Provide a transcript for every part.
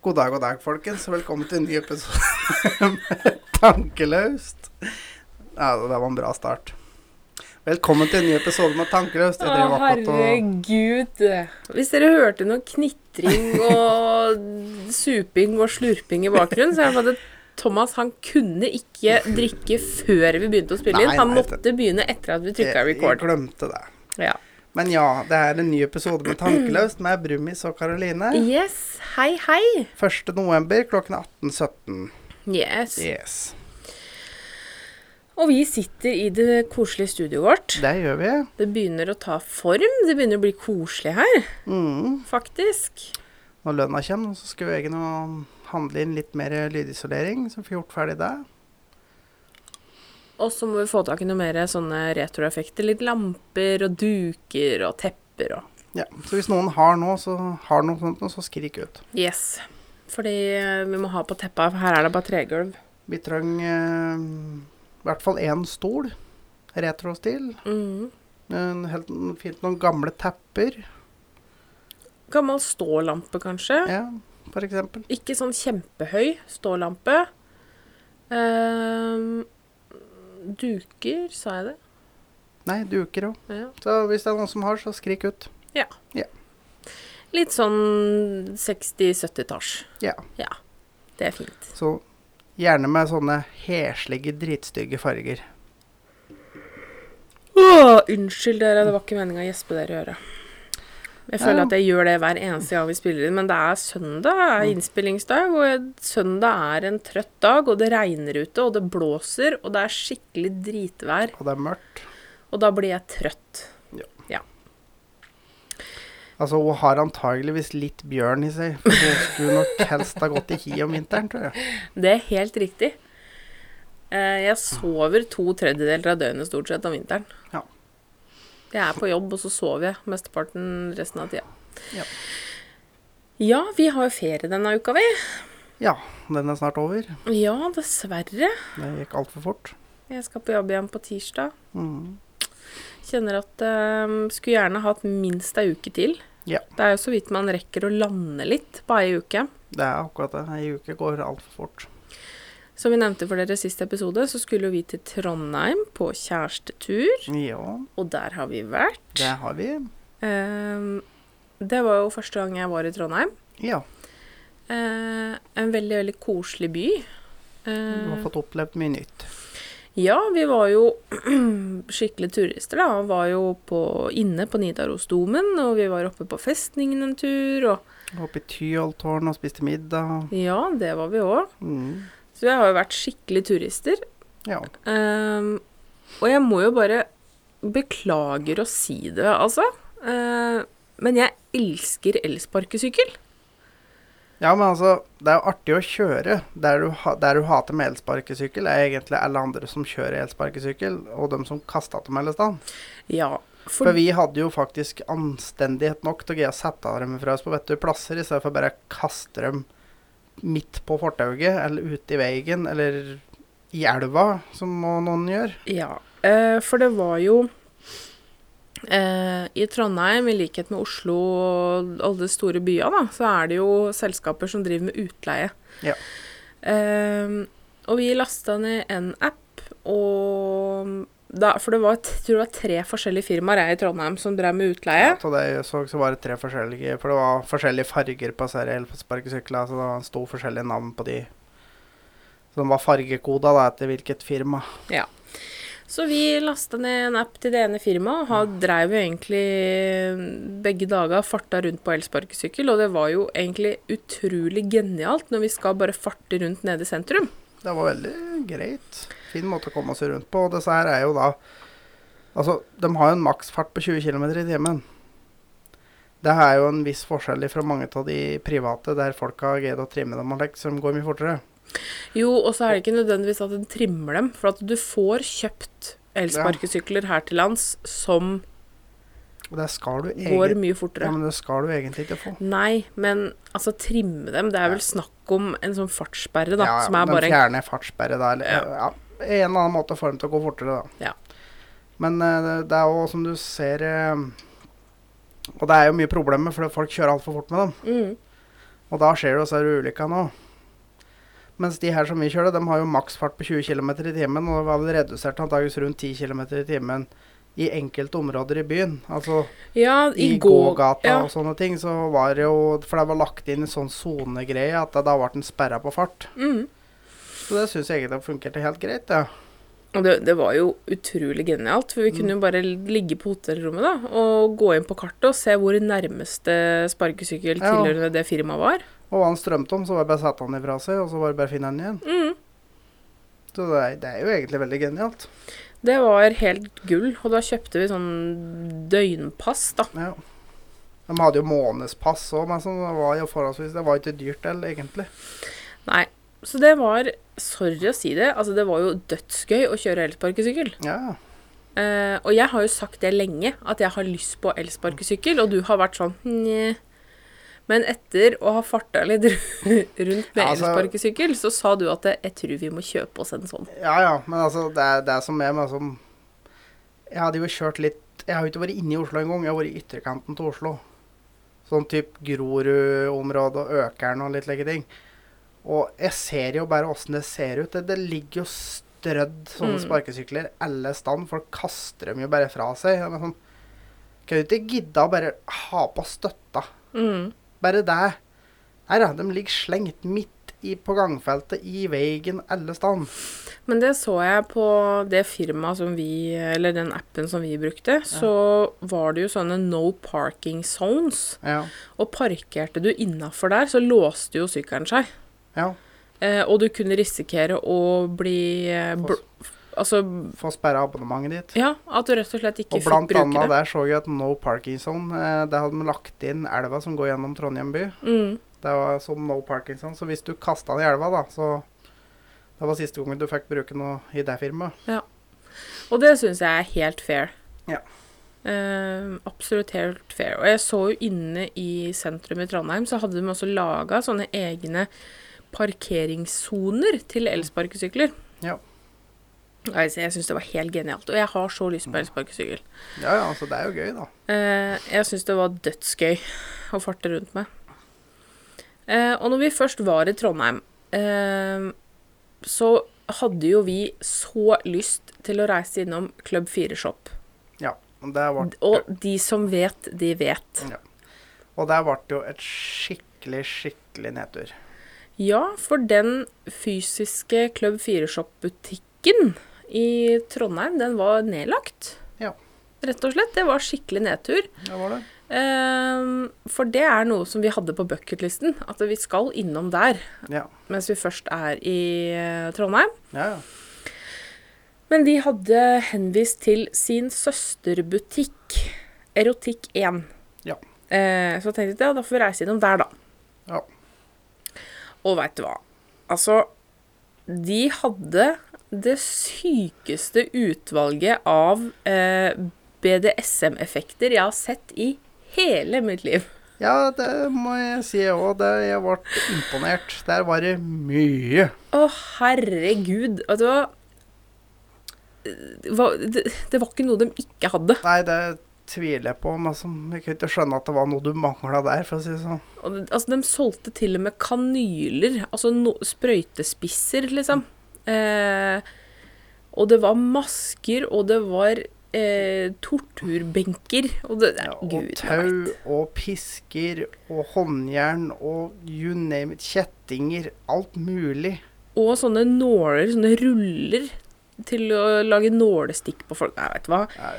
God dag, god dag, folkens. Velkommen til en ny episode med Tankelaust. Ja, det var en bra start. Velkommen til en ny episode med Tankelaust. Jeg drev Å, akkurat og herregud. Hvis dere hørte noe knitring og suping og slurping i bakgrunnen, så er det bare at Thomas han kunne ikke drikke før vi begynte å spille inn. Nei, Han nei, måtte begynne etter at vi trykka jeg, jeg record. glemte det. Ja. Men ja, det er en ny episode med Tankelaust med Brumis og Karoline. Yes. Hei, hei. 1. november klokken 18.17. Yes. Yes. Og vi sitter i det koselige studioet vårt. Det gjør vi. Det begynner å ta form. Det begynner å bli koselig her, Mm. faktisk. Når lønna kommer, så skal jeg nå handle inn litt mer lydisolering, så får vi gjort ferdig det. Og så må vi få tak i noe mer sånne retroeffekter. Litt lamper og duker og tepper og Ja, Så hvis noen har noe, så har noe sånt noe, så skrik ut. Yes. Fordi eh, vi må ha på teppa, for her er det bare tregulv. Vi trang eh, i hvert fall én stol, retrostil. Mm. En helt en- fint noen gamle tepper, Gammel stålampe, kanskje. ja, for eksempel. Ikke sånn kjempehøy stålampe. Ehm, duker, sa jeg det? Nei, duker òg. Ja. Så hvis det er noen som har, så skrik ut. Litt sånn 60-70-talls. Ja. ja. Det er fint. Så gjerne med sånne heslige, dritstygge farger. Åh, unnskyld dere, det var ikke meninga å gjespe dere i øret. Jeg føler Ja. at jeg gjør det hver eneste gang vi spiller inn, men det er søndag, det Mm. er innspillingsdag, og jeg- søndag er en trøtt dag, og det regner ute, og det blåser, og det er skikkelig dritvær, Og det er mørkt. og da blir jeg trøtt. Altså, hun har antageligvis litt bjørn i seg. For hun skulle nok helst ha gått i hi om vinteren, tror jeg. Det er helt riktig. Eh, Jeg sover to tredjedeler av døgnet stort sett om vinteren. Ja. Jeg er på jobb, og så sover jeg mesteparten resten av tida. Ja. ja, vi har jo ferie denne uka, vi. Ja, den er snart over. Ja, dessverre. Det gikk altfor fort. Jeg skal på jobb igjen på tirsdag. Mm. Kjenner at eh, skulle gjerne hatt minst ei uke til. Ja. Det er jo så vidt man rekker å lande litt på ei uke. Det er akkurat det. Ei uke går altfor fort. Som vi nevnte for dere i siste episode, så skulle jo vi til Trondheim på kjærestetur, Ja, og der har vi vært. det har vi. Eh, det var jo første gang jeg var i Trondheim. Ja. Eh, en veldig, veldig koselig by. Du har Eh, fått opplevd mye nytt. ja, vi var jo skikkelig turister, da. Og var jo på, inne på Nidarosdomen, og vi var oppe på festningen en tur, og Jeg var oppe i Tyholttårnet og spiste middag. ja, det var vi òg. Mm. Så vi har jo vært skikkelig turister. Ja. Ehm, og jeg må jo bare beklager å si det, altså. Eh, men jeg elsker elsparkesykkel. ja, men altså, det er jo artig å kjøre. Der du, ha, der du hater med elsparkesykkel, er egentlig alle andre som kjører elsparkesykkel, og dem som kasta dem hele stand. Ja. For For, vi hadde jo faktisk anstendighet nok til å greie å sette dem fra oss på vettige plasser, i stedet for bare å kaste dem midt på fortauet, eller ute i veien, eller i elva, som må noen gjør. ja. Eh, for det var jo eh, I Trondheim, i likhet med Oslo og alle de store byene, da, så er det jo selskaper som driver med utleie. Ja. Ehm, og vi lasta ned en app, og da, For det var, jeg tror det var tre forskjellige firmaer jeg, i Trondheim som drev med utleie. Så det jeg så, så var det tre forskjellige For det var forskjellige farger på disse her elsparkesykler, så det sto forskjellige navn på de. Så de var fargekoda da, etter hvilket firma. Så vi lasta ned en app til det ene firmaet, og har- dreiv jo egentlig begge dager farta rundt på elsparkesykkel. Og det var jo egentlig utrolig genialt når vi skal bare farte rundt nede i sentrum. Det var veldig greit. Fin måte å komme seg rundt på. Og disse her er jo da Altså, de har jo en maksfart på 20 km i timen. Det er jo en viss forskjell fra mange av de private, der folk har greid å trimme dem og slikt, som går mye fortere. Jo, og så er det ikke nødvendigvis at en trimmer dem, for at du får kjøpt elsparkesykler her til lands som Og det skal du går egentlig mye ja, fortere. men det skal du egentlig ikke få. Nei, men altså trimme dem, det er vel snakk om en sånn fartssperre, da, ja, som er bare De en fjerner fartssperre da, eller ja. en eller annen måte å få dem til å gå fortere, da. Ja. Men eh, det- det er jo som du ser eh, Og det er jo mye problemer, for folk kjører altfor fort med dem. mm, Og da skjer det disse ulykkene òg. Mens de her som vi kjører, de har jo maksfart på 20 km i timen, og det var vel redusert antakeligvis rundt 10 km i timen i enkelte områder i byen. Altså Ja, i i, gå- gågata ja. og sånne ting, så var det jo For det var lagt inn en sånn sonegreie at da ble den sperra på fart. Mm. Så det syns jeg egentlig fungerte helt greit, ja. Og det, det var jo utrolig genialt, for vi kunne jo bare ligge på hotellrommet da, og gå inn på kartet og se hvor nærmeste sparkesykkel Ja. tilhørende det firmaet var. Og hva han strømte om, så var det bare å sette han ifra seg, og så var det bare å finne han igjen. Mm. Så det er, det er jo egentlig veldig genialt. Det var helt gull, og da kjøpte vi sånn døgnpass, da. Ja. De hadde jo månedspass òg, men sånn, det var jo forholdsvis Det var jo ikke dyrt heller, egentlig. Nei, så det var Sorry å si det, altså det var jo dødsgøy å kjøre elsparkesykkel. Ja. Eh, og jeg har jo sagt det lenge, at jeg har lyst på elsparkesykkel, og du har vært sånn Nje. Men etter å ha farta litt rundt med Ja, altså- elsparkesykkel, så sa du at jeg tror vi må kjøpe oss en sånn. ja ja, men altså, det er det er som er med som Jeg hadde jo kjørt litt Jeg har jo ikke vært inne i Oslo engang, jeg har vært i ytterkanten til Oslo. Sånn type Grorud-området og Økeren og litt slike ting. Og jeg ser jo bare åssen det ser ut. Det, det ligger jo strødd sånne Mm. sparkesykler alle stand. Folk kaster dem jo bare fra seg. Jeg er bare sånn, kan du ikke gidde å bare ha på støtta? Mm. Bare det. Nei da, de ligger slengt midt i, på gangfeltet, i veien, alle stand. Men det så jeg på det firmaet som vi Eller den appen som vi brukte. Så var det jo sånne no parking zones. Ja. Og parkerte du innafor der, så låste jo sykkelen seg. ja. Eh, og du kunne risikere å bli eh, bl Altså Få sperra abonnementet ditt. Ja, at du rett og slett ikke Og fikk blant bruke annet det. der så jeg at No Parking Zone, eh, der hadde de lagt inn elva som går gjennom Trondheim by. Mm. Det var som No Parking Zone, så hvis du kasta den i elva, da, så Det var siste gangen du fikk bruke noe i det firmaet. Og det syns jeg er helt fair. Ja. Eh, absolutt helt fair. Og jeg så jo inne i sentrum i Trondheim, så hadde de også laga sånne egne parkeringssoner til elsparkesykler. Ja. Nei, så Jeg syns det var helt genialt. Og jeg har så lyst Mm. på elsparkesykkel. Ja ja, så det er jo gøy, da. Eh, jeg syns det var dødsgøy å farte rundt med. Eh, og når vi først var i Trondheim, eh, så hadde jo vi så lyst til å reise innom Club 4 Shop. Ja. Og det ble, Og de som vet, de vet. og det ble jo et skikkelig, skikkelig nedtur. Ja, for den fysiske Club 4 Shop-butikken i Trondheim, den var nedlagt. Ja. Rett og slett. Det var skikkelig nedtur. Det var det. Ehm, for det er noe som vi hadde på bucketlisten, at vi skal innom der Ja. mens vi først er i eh, Trondheim. Ja, ja. Men de hadde henvist til sin søsterbutikk, Erotikk 1. Ja. Eh, så tenkte jeg ja, da får vi reise innom der, da. Ja. Og veit du hva? Altså, de hadde det sykeste utvalget av eh, BDSM-effekter jeg har sett i hele mitt liv. ja, det må jeg si òg. Jeg ble imponert. Der var det mye. Å, herregud. Vet du hva? Det var, det, det var ikke noe de ikke hadde. Nei, det tviler jeg på. Men altså, jeg kunne ikke skjønne at det var noe du mangla der, for å si det sånn. Og det- Altså, de solgte til og med kanyler, altså no, sprøytespisser, liksom. Eh, og det var masker, og det var eh, torturbenker, og det Ja, ja, og Gud, jeg tau vet. og pisker og håndjern og you name it. Kjettinger. Alt mulig. Og sånne nåler, sånne ruller til å lage nålestikk på folk. Jeg vet du hva. Nei,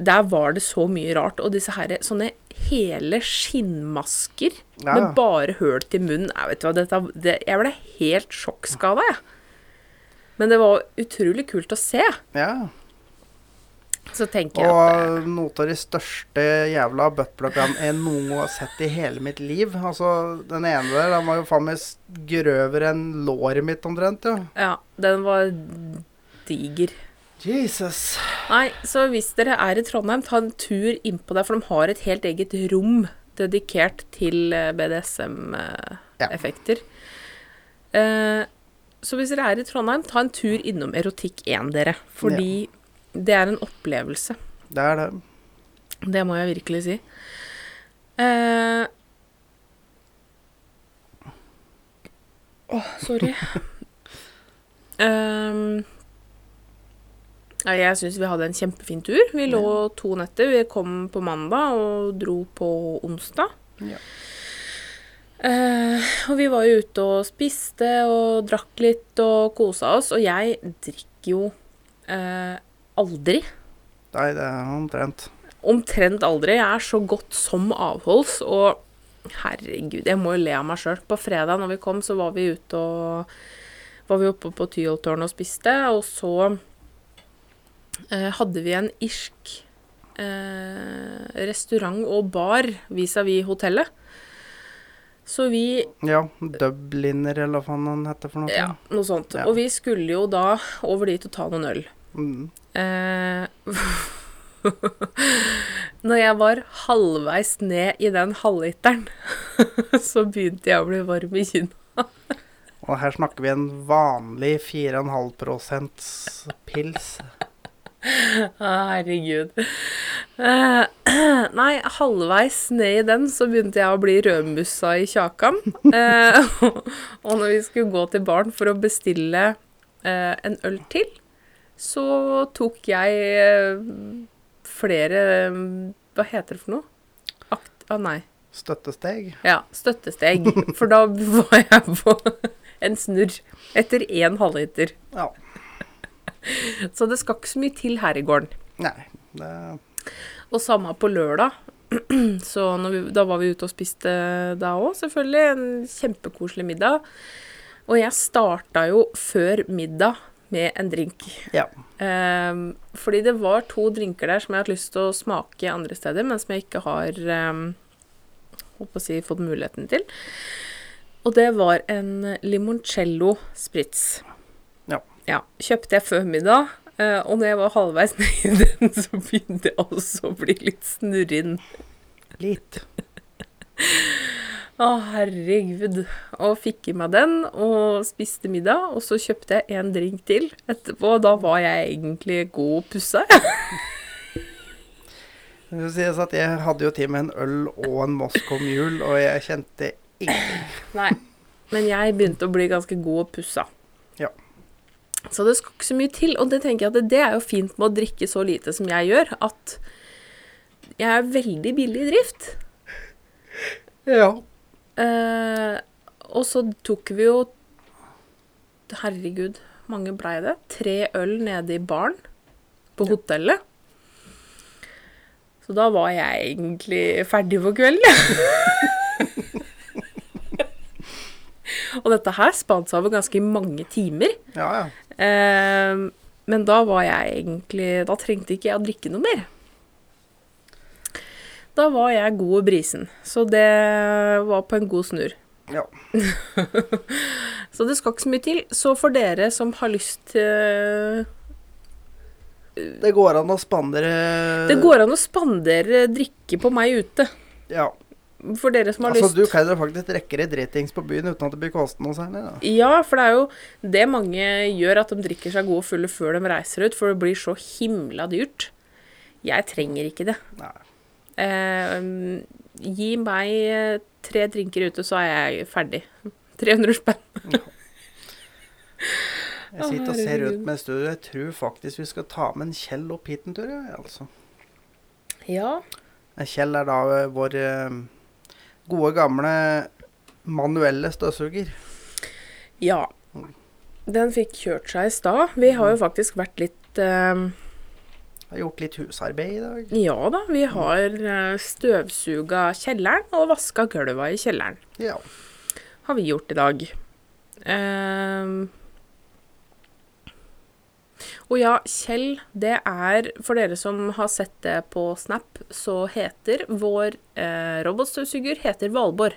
Der var det så mye rart. Og disse her, sånne hele skinnmasker Ja, ja. med bare høl til munnen. Jeg vet du hva, dette, det, jeg ble helt sjokkskada, jeg. Men det var utrolig kult å se. Ja. Så tenker jeg at Og noe av de største jævla buttpluggene jeg noen gang har sett i hele mitt liv. Altså, den ene der, den var jo faen meg s- grøvere enn låret mitt omtrent, jo. ja, den var diger. Jesus. Nei, så hvis dere er i Trondheim, ta en tur innpå der, for de har et helt eget rom dedikert til eh, Ja. BDSM-effekter. Eh, så hvis dere er i Trondheim, ta en tur innom Erotikk 1, dere. Fordi det er en opplevelse. Det er det. Det må jeg virkelig si. Eh, Sorry. Ehm, ja, jeg syns vi hadde en kjempefin tur. Vi lå to netter. Vi kom på mandag og dro på onsdag. Ja. Eh, og vi var jo ute og spiste og drakk litt og kosa oss. Og jeg drikker jo eh, aldri. Nei, det er omtrent. Omtrent aldri. Jeg er så godt som avholds, og herregud, jeg må jo le av meg sjøl. På fredag når vi kom, så var vi ute og var vi oppe på Tyholttårnet og spiste, og så eh, hadde vi en irsk eh, restaurant og bar vis-à-vis hotellet. Så vi Ja, Dubliner, eller hva faen han heter for noe. Ja, noe sånt. Ja. Og vi skulle jo da over dit og ta noen øl. Mm. Eh, når jeg var halvveis ned i den halvliteren, så begynte jeg å bli varm i kinnet. Og her snakker vi en vanlig 4,5 pils. Herregud. Eh, nei, halvveis ned i den så begynte jeg å bli rødmussa i kjakan. Eh, og når vi skulle gå til baren for å bestille eh, en øl til, så tok jeg eh, flere eh, Hva heter det for noe? Akt... Ah, nei. Støttesteg. Ja, støttesteg. For da var jeg på en snurr etter én halvliter. Ja. Så det skal ikke så mye til her i gården. Nei, det Og samme på lørdag. Så når vi, da var vi ute og spiste da òg, selvfølgelig. En kjempekoselig middag. Og jeg starta jo før middag med en drink. Ja. Ehm, fordi det var to drinker der som jeg har hatt lyst til å smake andre steder, men som jeg ikke har ehm, holdt på å si, fått muligheten til. Og det var en limoncello spritz. Ja. ja. Kjøpte jeg før middag, eh, og når jeg var halvveis ned i den, så begynte jeg også å bli litt snurrin. Litt. Å, herregud. Og fikk i meg den, og spiste middag. Og så kjøpte jeg en drink til etterpå, og da var jeg egentlig god og pussa, jeg. Det skal sies at jeg hadde jo tid med en øl og en Moscow Mule, og jeg kjente ingenting. Nei. Men jeg begynte å bli ganske god og pussa. Ja. Så det skal ikke så mye til. Og det tenker jeg at det- det er jo fint med å drikke så lite som jeg gjør, at jeg er veldig billig i drift. Ja. Eh, og så tok vi jo Herregud, mange blei det? Tre øl nede i baren på hotellet. Så da var jeg egentlig ferdig for kvelden. og dette her spant seg over ganske mange timer. Ja, ja. Eh, men da var jeg egentlig Da trengte ikke jeg å drikke noe mer. Da var jeg god og brisen, så det var på en god snurr. Ja. Så det skal ikke så mye til. Så for dere som har lyst til eh, Det går an å spandere Det går an å spandere drikke på meg ute. Ja. For dere som har Altså, lyst. du kan jo faktisk rekke deg dritings på byen uten at det blir kosten sånn, noe særlig, da. Ja, for det er jo det mange gjør, at de drikker seg gode og fulle før de reiser ut, for det blir så himla dyrt. Jeg trenger ikke det. Nei. Eh, um, gi meg eh, tre drinker ute, så er jeg ferdig. 300 spenn. Jeg sitter og Å, ser herregud. ut med studio. Jeg tror faktisk vi skal ta med en Kjell opp hit en tur, ja, altså. Ja. Kjell er da eh, vår eh, gode, gamle manuelle støvsuger. ja. Den fikk kjørt seg i stad. Vi har jo faktisk vært litt eh, Har gjort litt husarbeid i dag. Ja da, vi har eh, støvsuga kjelleren og vaska gulva i kjelleren. Ja. Har vi gjort i dag. Ehm. og ja, Kjell, det er For dere som har sett det på Snap, så heter vår eh, robotstøvsuger heter Valborg.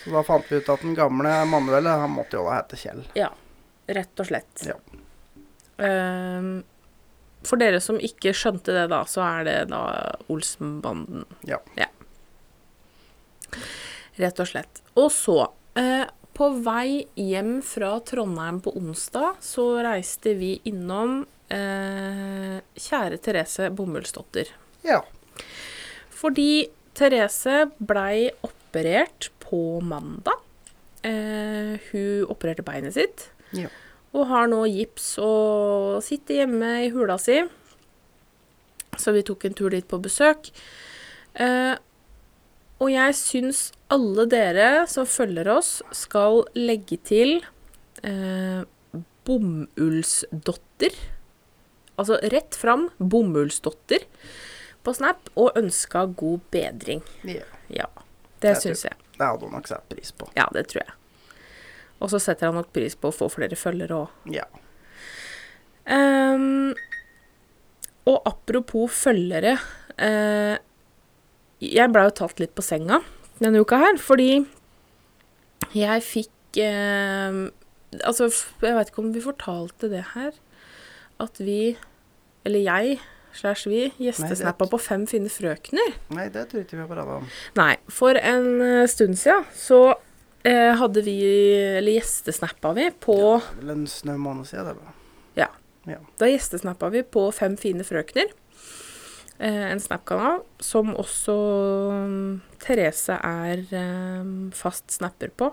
Så da fant vi ut at den gamle manuelle, han måtte jo da hete Kjell. Ja, rett og slett. Ja. Ehm, for dere som ikke skjønte det, da, så er det da Olsenbanden. Ja. Rett og slett. Og så, eh, på vei hjem fra Trondheim på onsdag, så reiste vi innom eh, kjære Therese Bomullsdotter. Ja. Fordi Therese blei operert på mandag. Eh, hun opererte beinet sitt. Ja. Og har nå gips og sitter hjemme i hula si. Så vi tok en tur dit på besøk. Eh, og jeg syns alle dere som følger oss, skal legge til eh, bomullsdotter. Altså rett fram bomullsdotter på Snap, og ønska god bedring. Ja. Ja, det Jeg tror- syns jeg. Det hadde hun nok satt pris på. Ja, det tror jeg. Og så setter han nok pris på å få flere følgere òg. Ja. Ehm, og apropos følgere eh, Jeg blei jo tatt litt på senga denne uka her, fordi jeg fikk ehm, Altså, f- jeg veit ikke om vi fortalte det her, at vi, eller jeg slash vi, gjestesnappa på Fem fine frøkner. Nei, det tror jeg ikke vi har prata om. Nei, for en eh, stund siden så eh, hadde vi, eller gjestesnappa vi på Vel en snau måned siden, det. var. Da gjestesnappa vi på Fem fine frøkner, eh, en snapkanal som også mm, Therese er eh, fast snapper på.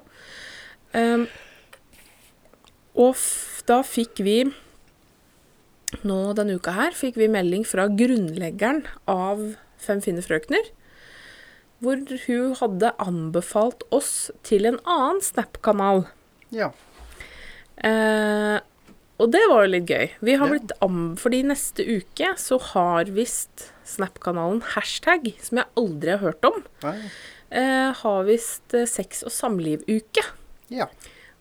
Um, og f da fikk vi nå denne uka her fikk vi melding fra grunnleggeren av Fem fine frøkner, hvor hun hadde anbefalt oss til en annen snapkanal. Ja. Eh, og det var jo litt gøy. Vi har Ja. blitt am... Fordi neste uke så har visst Snap-kanalen hashtag, som jeg aldri har hørt om, Nei. eh, har visst eh, sex- og samliv-uke. Ja.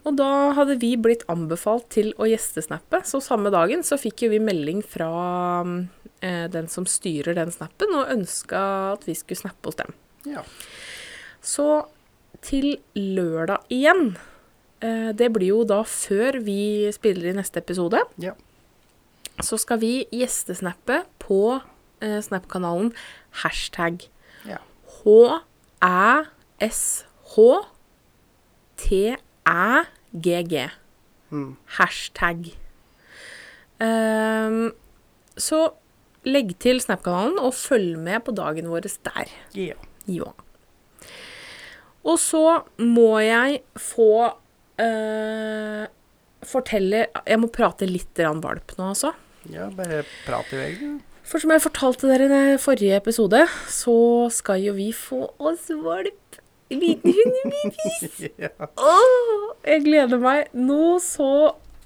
Og da hadde vi blitt anbefalt til å gjestesnappe, så samme dagen så fikk jo vi melding fra mm, eh, den som styrer den snappen, og ønska at vi skulle snappe hos dem. Ja. Så til lørdag igjen. Eh, Det blir jo da før vi spiller i neste episode. Ja. Så skal vi gjestesnappe på eh, Snap-kanalen hashtag Ja. H-æ-s-h-t-æ-g-g. Mm. Hashtag. Ehm, så legg til Snap-kanalen og følg med på dagen vår der. ja. Ja. Og så må jeg få eh, fortelle Jeg må prate litt grann valp nå, altså. ja. Bare prat i veggen. For som jeg fortalte dere i den forrige episode, så skal jo vi få oss valp. En liten hundebaby. ja. Åh, jeg gleder meg nå så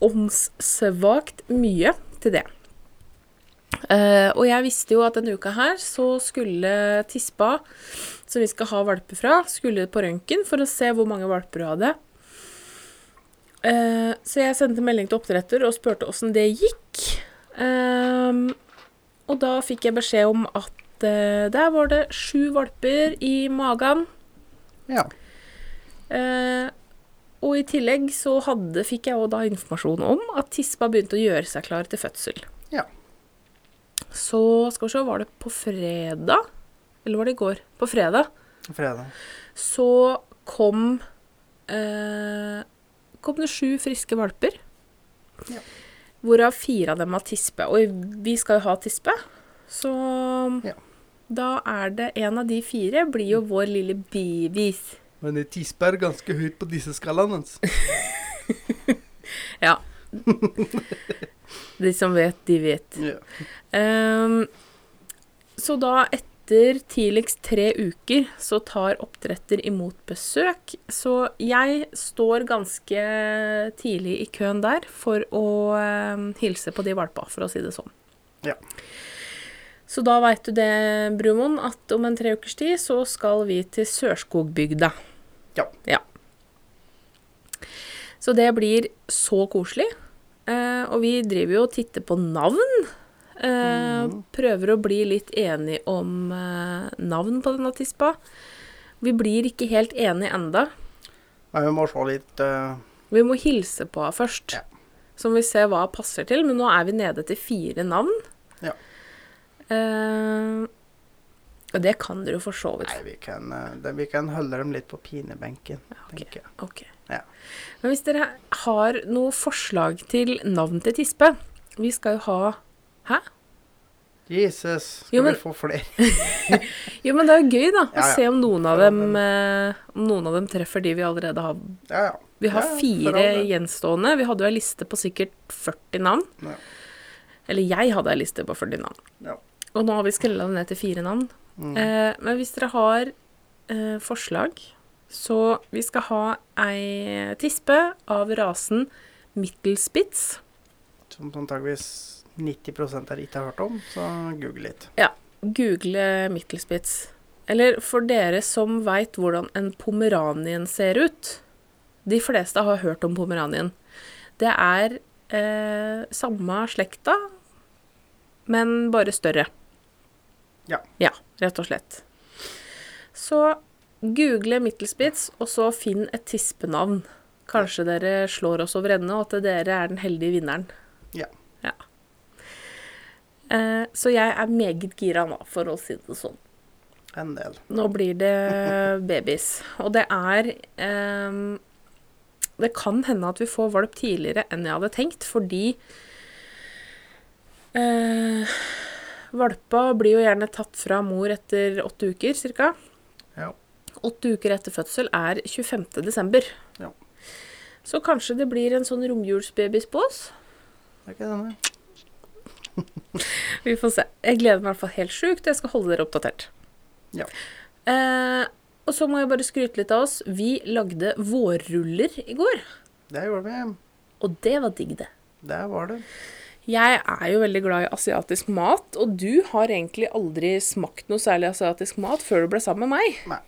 åndssvakt mye til det. Eh, og jeg visste jo at denne uka her så skulle tispa, som vi skal ha valper fra, skulle på røntgen for å se hvor mange valper hun hadde. Eh, så jeg sendte melding til oppdretter og spurte åssen det gikk. Ehm, og da fikk jeg beskjed om at eh, der var det sju valper i magen. Ja. Eh, og i tillegg så hadde, fikk jeg også da informasjon om at tispa begynte å gjøre seg klar til fødsel. Ja. Så skal vi se, var det på fredag? Eller var det i går? På fredag Fredag. så kom eh, kom det sju friske valper. Ja. Hvorav fire av dem har tispe. Og vi skal jo ha tispe, så Ja. da er det en av de fire blir jo vår lille babies. Men det tisper ganske høyt på disse altså. skalaene hans. Ja. De som vet, de vet. Ja. Ehm, så da, etter tidligst tre uker, så tar oppdretter imot besøk. Så jeg står ganske tidlig i køen der for å ehm, hilse på de valpa, for å si det sånn. Ja. Så da veit du det, Brumoen, at om en tre ukers tid så skal vi til Sørskogbygda. Ja. Så det blir så koselig. Eh, og vi driver jo og titter på navn. Eh, Mm. Prøver å bli litt enige om eh, navn på denne tispa. Vi blir ikke helt enige enda. Nei, vi må se litt eh, Vi må hilse på henne først. Ja. Så må vi se hva hun passer til. Men nå er vi nede til fire navn. Ja. Eh, og det kan dere jo for så vidt Nei, vi kan, eh, det, vi kan holde dem litt på pinebenken, ok. tenker jeg. Ok. Ja. Men hvis dere har noe forslag til navn til tispe Vi skal jo ha Hæ? Jesus, skal Jo, men- vi få flere? Jo, men det er jo gøy, da. Å Ja, ja. se om noen, av For all dem, eh, om noen av dem treffer de vi allerede har. Ja, ja. Vi har Ja, ja, for all fire del. gjenstående. Vi hadde jo ei liste på sikkert 40 navn. Ja. Eller jeg hadde ei liste på 40 navn. Ja. Og nå har vi skrella det ned til fire navn. Mm. Eh, men hvis dere har eh, forslag, så vi skal ha ei tispe av rasen Mittelspitz. Som antageligvis 90 her ikke har hørt om, så google litt. Google Mittelspitz. Eller for dere som veit hvordan en pomeranien ser ut De fleste har hørt om pomeranien. Det er eh, samme slekta, men bare større. Ja. Ja, rett og slett. Så google Mittelspitz, og så finn et tispenavn. Kanskje dere slår oss over ende, og at dere er den heldige vinneren. Ja. ja. Eh, så jeg er meget gira nå, for å si det sånn. En del. Nå blir det babies. Og det er ehm, Det kan hende at vi får valp tidligere enn jeg hadde tenkt, fordi eh, Valpa blir jo gjerne tatt fra mor etter åtte uker, cirka. Ja. Åtte uker etter fødsel er 25. desember. Ja. Så kanskje det blir en sånn romjulsbabys på oss. Det er ikke denne. Vi får se. Jeg gleder meg i hvert fall helt sjukt. Jeg skal holde dere oppdatert. Ja. Eh, og så må jeg bare skryte litt av oss. Vi lagde vårruller i går, Det gjorde vi. og det var digg, det. Der var det. Jeg er jo veldig glad i asiatisk mat, og du har egentlig aldri smakt noe særlig asiatisk mat før du ble sammen med meg. Nei.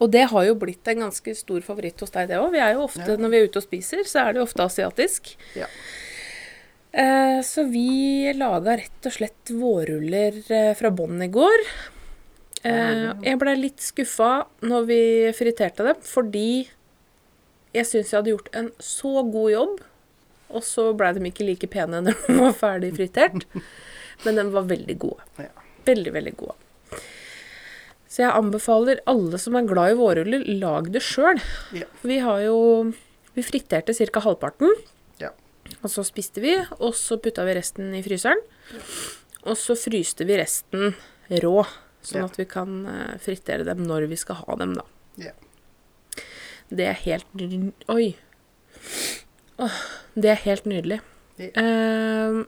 Og det har jo blitt en ganske stor favoritt hos deg, det òg. Vi er jo ofte, Ja. når vi er ute og spiser, så er det jo ofte asiatisk. Ja. Eh, så vi laga rett og slett vårruller eh, fra bånn i går. Eh, jeg blei litt skuffa når vi friterte dem, fordi jeg syns jeg hadde gjort en så god jobb, og så blei de ikke like pene når de var ferdig fritert. Men de var veldig gode. Ja. Veldig, veldig gode. Så jeg anbefaler alle som er glad i vårruller, lag det sjøl. Ja. Vi har jo Vi friterte ca. halvparten. Ja. Og så spiste vi, og så putta vi resten i fryseren. Og så fryste vi resten rå, sånn Ja. at vi kan eh, fritere dem når vi skal ha dem, da. Ja. Det er helt n- Oi. Åh, det er helt nydelig. Ja. Eh,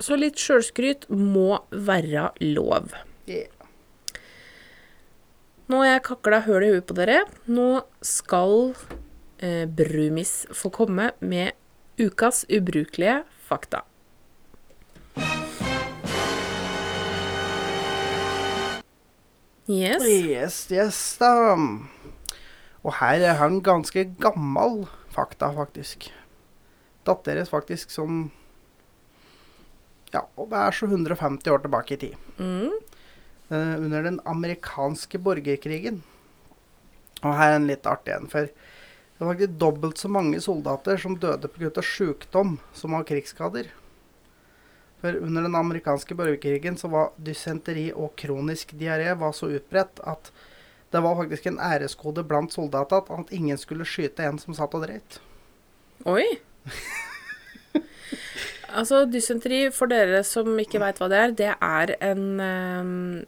så litt sjølskryt må være lov. Ja. Nå har jeg kakla høl i huet på dere. Nå skal eh, Brumis få komme med ukas ubrukelige fakta. Yes. Yes, yes, da. Og her er han ganske gammel fakta, faktisk. Dateres faktisk som Ja, og det er så 150 år tilbake i tid. Mm. eh, under den amerikanske borgerkrigen. Og her er en litt artig en, for det var faktisk dobbelt så mange soldater som døde pga. sykdom som av krigsskader. For under den amerikanske borgerkrigen så var dysenteri og kronisk diaré var så utbredt at det var faktisk en æreskode blant soldatene at- at ingen skulle skyte en som satt og dreit. Oi. Altså, dysenteri, for dere som ikke veit hva det er, det er en eh,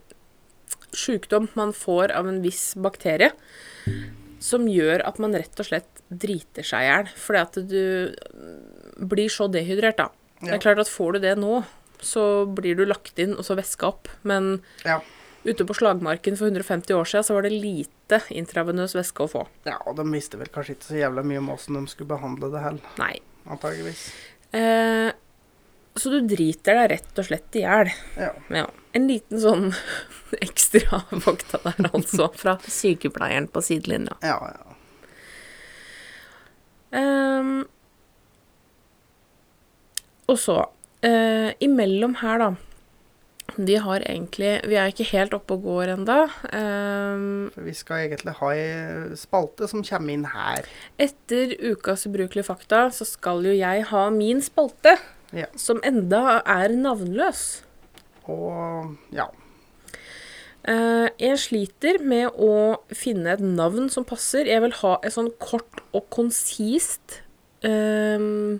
sjukdom man får av en viss bakterie som gjør at man rett og slett driter seg i hjel. Fordi at du eh, blir så dehydrert, da. Det Ja. er klart at får du det nå, så blir du lagt inn og så væska opp. Men Ja. ute på slagmarken for 150 år siden så var det lite intravenøs væske å få. ja, og de visste vel kanskje ikke så jævla mye om åssen de skulle behandle det heller, Nei. antageligvis. Eh, så du driter deg rett og slett i hjel. Ja. Ja. En liten sånn ekstra fakta der, altså. Fra sykepleieren på sidelinja. Ja, ja. Ehm, og så eh, Imellom her, da. Vi har egentlig Vi er ikke helt oppe og går ennå. For vi skal egentlig ha ei spalte som kommer inn her. etter ukas ubrukelige fakta så skal jo jeg ha min spalte, Ja. som enda er navnløs. Og ja. Eh, jeg sliter med å finne et navn som passer. Jeg vil ha et sånn kort og konsist ehm,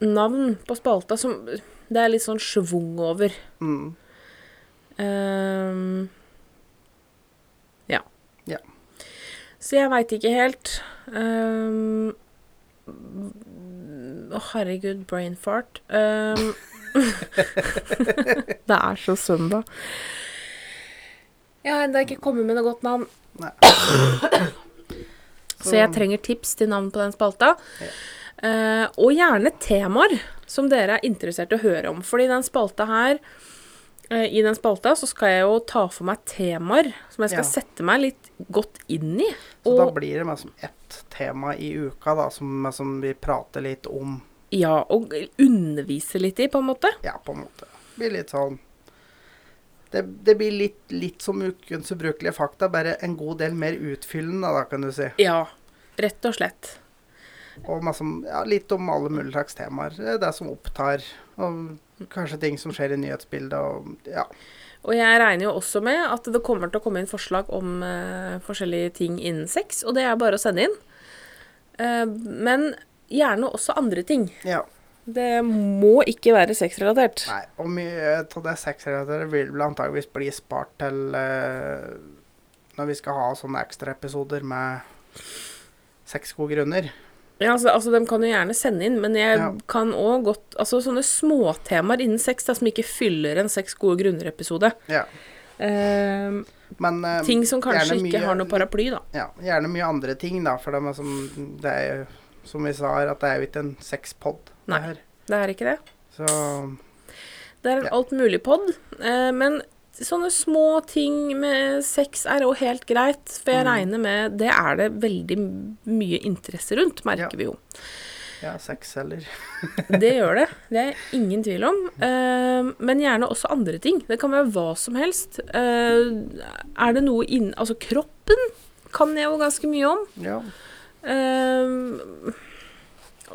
eh, navn på spalta som Det er litt sånn schwung over. Mm. Ehm, ja. Ja. Så jeg veit ikke helt. Ehm, Å, herregud, brain fart. Ehm, det er så søndag. Jeg har ennå ikke kommet med noe godt navn, Nei. så jeg trenger tips til navn på den spalta. Ja. Eh, og gjerne temaer som dere er interessert i å høre om. Fordi den spalta her Eh, I den spalta så skal jeg jo ta for meg temaer som jeg skal Ja. sette meg litt godt inn i. Så da Og, blir det liksom ett tema i uka da, som, som vi prater litt om. ja, og undervise litt i, på en måte. Ja, på en måte. Det blir litt sånn Det, det blir litt, litt som ukens ubrukelige fakta, bare en god del mer utfyllende, da, kan du si. Ja, rett og slett. Og masse, om- ja, litt om alle mulige slags temaer. eh, Det som opptar, og kanskje ting som skjer i nyhetsbildet, og ja. Og jeg regner jo også med at det kommer til å komme inn forslag om eh, forskjellige ting innen sex, og det er bare å sende inn. Eh, men gjerne også andre ting. ja. Det må ikke være sexrelatert. Nei, og mye av det sexrelaterte vil vel antageligvis bli spart til eh, når vi skal ha sånne ekstraepisoder med seks gode grunner. Ja, altså, altså, De kan jo gjerne sende inn, men jeg Ja. kan òg godt Altså sånne småtemaer innen sex da, som ikke fyller en Seks gode grunner-episode. Ja. Ehm, Men eh, ting som kanskje gjerne ikke mye- har noe paraply, da. Ja, gjerne mye andre ting, da. For det er, som, det er jo, som vi sa her, at det er jo ikke en sexpod. Nei. Det er ikke det. Så Det er en Ja. alt mulig pod. men sånne små ting med sex er òg helt greit, for jeg Mm. regner med Det er det veldig mye interesse rundt, merker Ja. vi jo. ja, sexceller. Det gjør det. Det er ingen tvil om. Eh, men gjerne også andre ting. Det kan være hva som helst. Eh, er det noe innen Altså, kroppen kan jeg jo ganske mye om. Ja. Eh,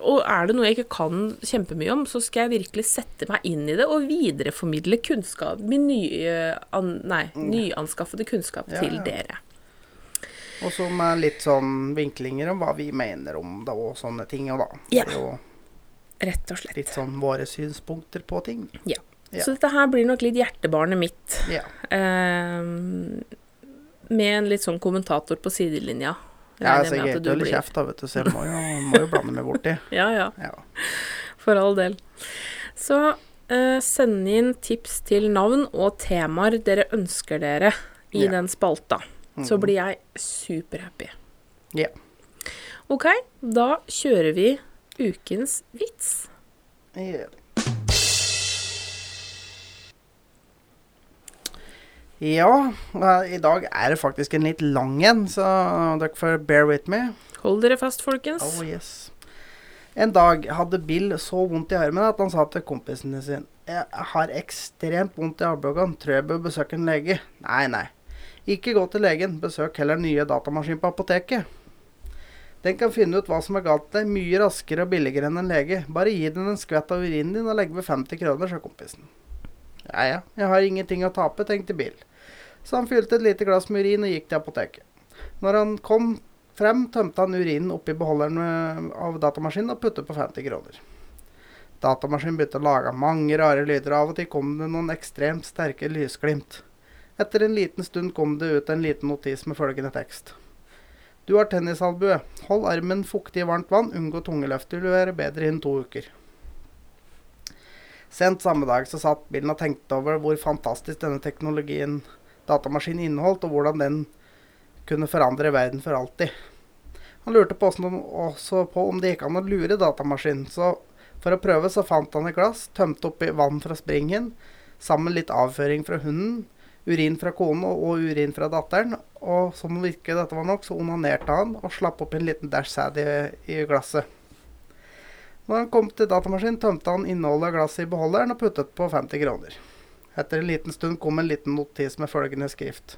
og er det noe jeg ikke kan kjempemye om, så skal jeg virkelig sette meg inn i det og videreformidle kunnskap, min nye, an, nei, nyanskaffede kunnskap Mm. Ja, til ja. dere. Og så med litt sånn vinklinger om hva vi mener om det, og sånne ting. Og da. Ja. Det er jo Rett og slett. litt sånn våre synspunkter på ting. Ja. Ja. Så dette her blir nok litt hjertebarnet mitt. Ja. Ehm, med en litt sånn kommentator på sidelinja. Ja, Regner så med jeg at er du ikke veldig blir- kjeft, da, vet du, så jeg må jo, må jo blande meg borti. Ja, ja. Ja. For all del. Så eh, send inn tips til navn og temaer dere ønsker dere i Ja. den spalta. Så Mhm. blir jeg superhappy. Ja. OK, da kjører vi ukens vits. Ja. Ja, eh, i dag er det faktisk en litt lang en, så dere får bear with me. Hold dere fast, folkens. Oh, yes. En dag hadde Bill så vondt i armen at han sa til kompisene sine Jeg har ekstremt vondt i armbågen, tror jeg bør besøke en lege. Nei, nei. Ikke gå til legen, besøk heller nye datamaskin på apoteket. Den kan finne ut hva som er galt med deg, mye raskere og billigere enn en lege. Bare gi den en skvett av urinen din og legg ved 50 kroner, sa kompisen. Ja ja, jeg har ingenting å tape, tenkte Bill. Så han fylte et lite glass med urin og gikk til apoteket. Når han kom Frem tømte han urinen oppi beholderen eh, av datamaskinen og puttet på 50 kroner. Datamaskinen begynte å lage mange rare lyder, og av og til kom det noen ekstremt sterke lysglimt. Etter en liten stund kom det ut en liten notis med følgende tekst. Du har tennisalbue. Hold armen fuktig i varmt vann. Unngå tungeløft. Du vil være bedre innen to uker. Sent samme dag så satt bilen og tenkte over hvor fantastisk denne teknologien datamaskinen inneholdt, og hvordan den kunne forandre verden for alltid. Han lurte på åssen de, også på om det gikk an å lure datamaskinen, så for å prøve så fant han et glass, tømte oppi vann fra springen, sammen litt avføring fra hunden, urin fra kona og urin fra datteren, og som om ikke dette var nok, så onanerte han og slapp opp en liten dash sæd i, i glasset. Når han kom til datamaskinen, tømte han innholdet av glasset i beholderen og puttet på 50 kroner. Etter en liten stund kom en liten notis med følgende skrift.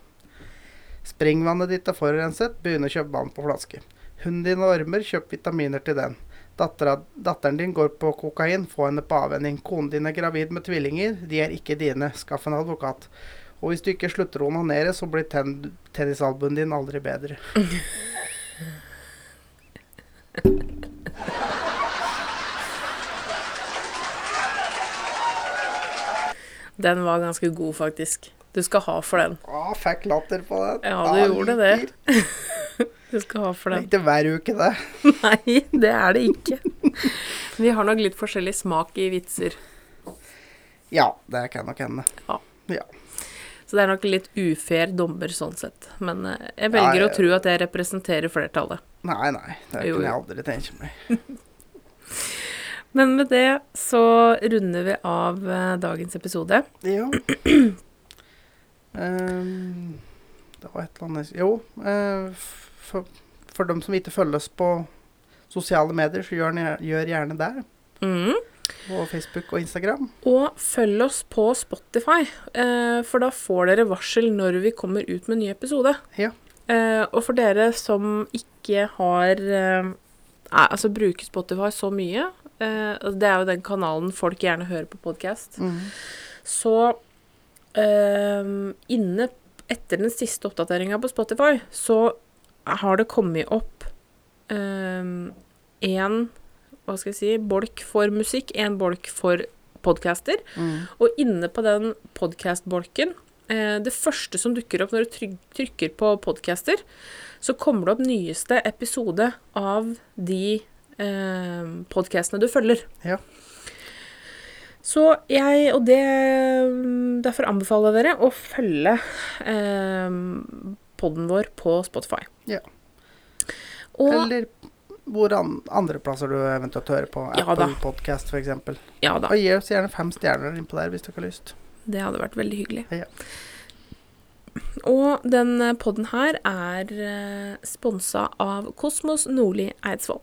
Springvannet ditt er forurenset, begynn å kjøpe vann på flaske. Hunden din og ormer, kjøp vitaminer til den. Dattera, datteren din går på kokain, få henne på avvenning. Konen din er gravid med tvillinger, de er ikke dine, skaff en advokat. Og hvis du ikke slutter å onanere, så blir ten tennisalbuen din aldri bedre. Den var ganske god, faktisk. Du skal ha for den. Å, fikk latter på den. Ja, du gjorde det. Du skal ha for Det er den. ikke hver uke, det. Nei, det er det ikke. Vi har nok litt forskjellig smak i vitser, Ja, det kan nok hende. Ja. Ja. så det er nok litt ufair dommer sånn sett. Men eh, jeg Ja, velger jeg- å tro at jeg representerer flertallet. Nei, nei. Det Jo, kunne jeg jo. aldri tenke meg. Men med det så runder vi av eh, dagens episode. Jo. Ehm, det var et eller annet Jo, eh, f- for, for dem som ikke følges på sosiale medier, så gjør, ni- gjør gjerne det. Mm. På Facebook og Instagram. Og følg oss på Spotify, eh, for da får dere varsel når vi kommer ut med en ny episode. Ja. Eh, og for dere som ikke har eh, nei, Altså bruker Spotify så mye, eh, og det er jo den kanalen folk gjerne hører på podkast, så eh, inne etter den siste oppdateringa på Spotify, så har det kommet opp én Hva skal jeg si Bolk for musikk, én bolk for podcaster. Mm. Og inne på den podcast-bolken, eh, det første som dukker opp når du tryk- trykker på podcaster, så kommer det opp nyeste episode av de eh, podcastene du følger. Ja. Så jeg, og det Derfor anbefaler jeg dere å følge eh, podden vår på Spotify. Ja. Og Eller hvor an, andre plasser du eventuelt hører på. Ja da. Apple Podcast, f.eks. Og ja da, gi oss gjerne fem stjerner innpå der hvis dere har lyst. det hadde vært veldig hyggelig. Ja. Og den eh, podden her er eh, sponsa av Kosmos Nordli Eidsvoll.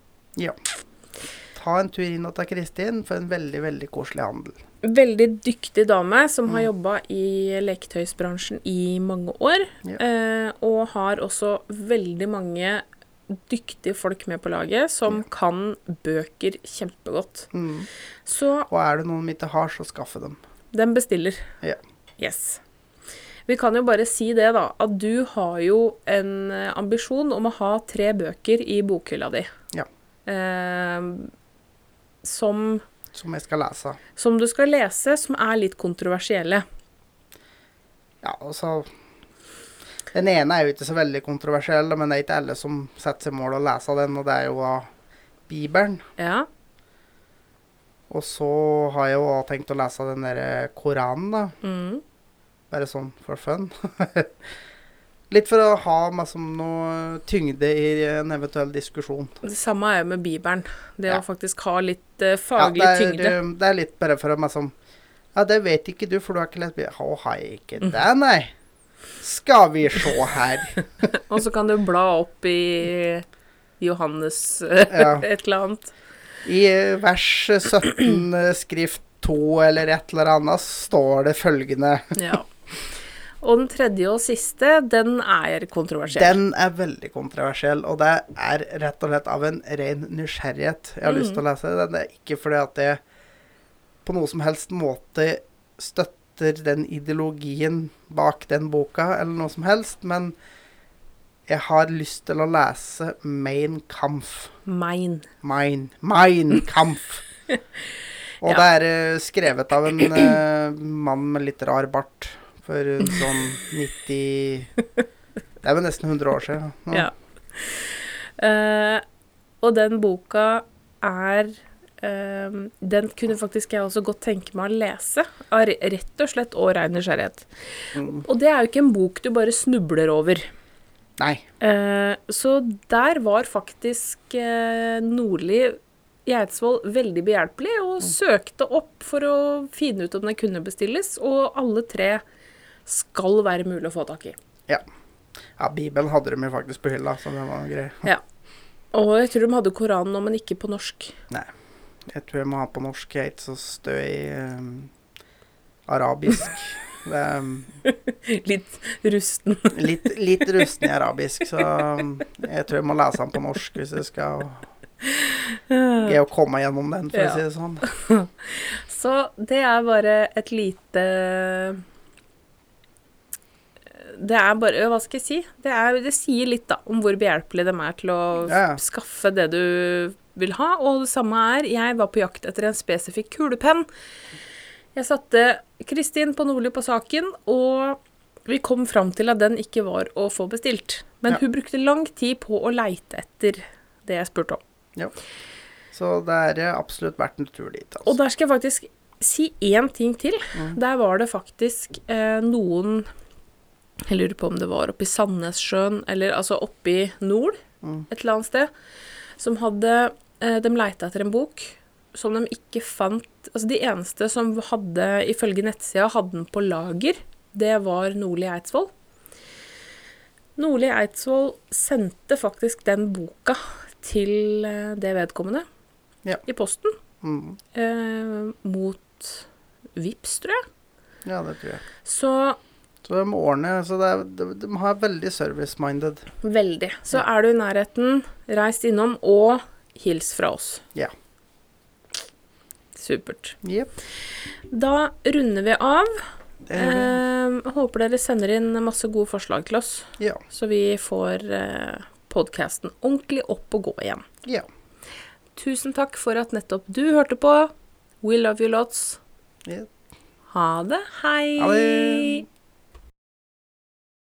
Ta en tur inn til Kristin for en veldig, veldig koselig handel. Veldig dyktig dame som har Mm. jobba i leketøysbransjen i mange år. Ja. eh, Og har også veldig mange dyktige folk med på laget som kan bøker kjempegodt. Mm. Så Og er det noen vi ikke har, så skaffe dem. Den bestiller. Ja. Yes. Vi kan jo bare si det, da, at du har jo en eh, ambisjon om å ha tre bøker i bokhylla di. Ja. Eh, som, Som jeg skal lese. som du skal lese, som er litt kontroversielle. Ja, altså Den ene er jo ikke så veldig kontroversiell, men det er ikke alle som setter seg mål å lese den, og det er jo av Bibelen. Ja. Og så har jeg jo også tenkt å lese den derre Koranen, da. Mm. Bare sånn for fun. Litt for å ha meg som noe tyngde i en eventuell diskusjon. Det samme er jo med Bibelen. Det Ja. å faktisk ha litt eh, Ja, faglig det, er, tyngde. um, det er litt bare for å meg som Ja, det vet ikke du, for du har ikke lest Bibelen. Å, har jeg ikke det, nei? Skal vi se her. Og så kan du bla opp i Johannes eh, Ja. et eller annet. I eh, vers 17, eh, skrift 2 eller et eller annet, står det følgende Ja. Og den tredje og siste, den er kontroversiell. Den er veldig kontroversiell, og det er rett og slett av en ren nysgjerrighet. Jeg har lyst til å lese den. Det er ikke fordi at jeg på noe som helst måte støtter den ideologien bak den boka, eller noe som helst, men jeg har lyst til å lese Mein Kampf. Mein. Mein, mein Kampf. Og Ja. det er eh, skrevet av en eh, mann med litt rar bart for en sånn 90 Det er vel nesten 100 år siden. nå. Ja. Eh, og den boka er eh, Den kunne faktisk jeg også godt tenke meg å lese, av re- rett og slett og ren nysgjerrighet. Mm. Og det er jo ikke en bok du bare snubler over. Nei. Eh, så der var faktisk eh, Nordli Geidsvoll veldig behjelpelig og søkte opp for å finne ut om den kunne bestilles, og alle tre skal være mulig å få tak i. Ja, Bibelen hadde de jo faktisk på hylla, så det var grei. Og jeg tror de hadde Koranen nå, men ikke på norsk. Jeg tror jeg må ha på norsk. Jeg er ikke så stø i eh, arabisk. Det er mm, Litt rusten. litt, litt rusten i arabisk, så mm, jeg tror jeg må lese den på norsk hvis jeg skal greie å komme gjennom den, for Ja. å si det sånn. Så det er bare et lite Det er bare Hva skal jeg si? Det, er, det sier litt, da, om hvor behjelpelig de er til å Ja, ja. skaffe det du vil ha. Og det samme er Jeg var på jakt etter en spesifikk kulepenn. Jeg satte Kristin på Nordli på saken, og vi kom fram til at den ikke var å få bestilt. Men Ja. hun brukte lang tid på å leite etter det jeg spurte om. Så det er eh, absolutt verdt en tur dit. Og Altså. der skal jeg faktisk si én ting til. Der var det faktisk eh, noen Jeg lurer på om det var oppe i Sandnessjøen, eller altså oppe i nord Mm. et eller annet sted, som hadde eh, De leita etter en bok som de ikke fant Altså, de eneste som hadde, ifølge nettsida, hadde den på lager, det var Nordli Eidsvoll. Nordli Eidsvoll sendte faktisk den boka til eh, det vedkommende Ja. i posten. Mm. Eh, mot Vips, tror jeg. Ja, det tror jeg. Så Så de ordner Så det er, de, de har veldig service-minded. veldig. Så er du i nærheten, reis innom og hils fra oss. Ja. Supert. Jepp. Da runder vi av. det gjør de. Eh, håper dere sender inn masse gode forslag til oss, Ja. så vi får eh, podkasten ordentlig opp og gå igjen. ja. Tusen takk for at nettopp du hørte på. We love you lots. Ja. Ha det. Hei. Ha det.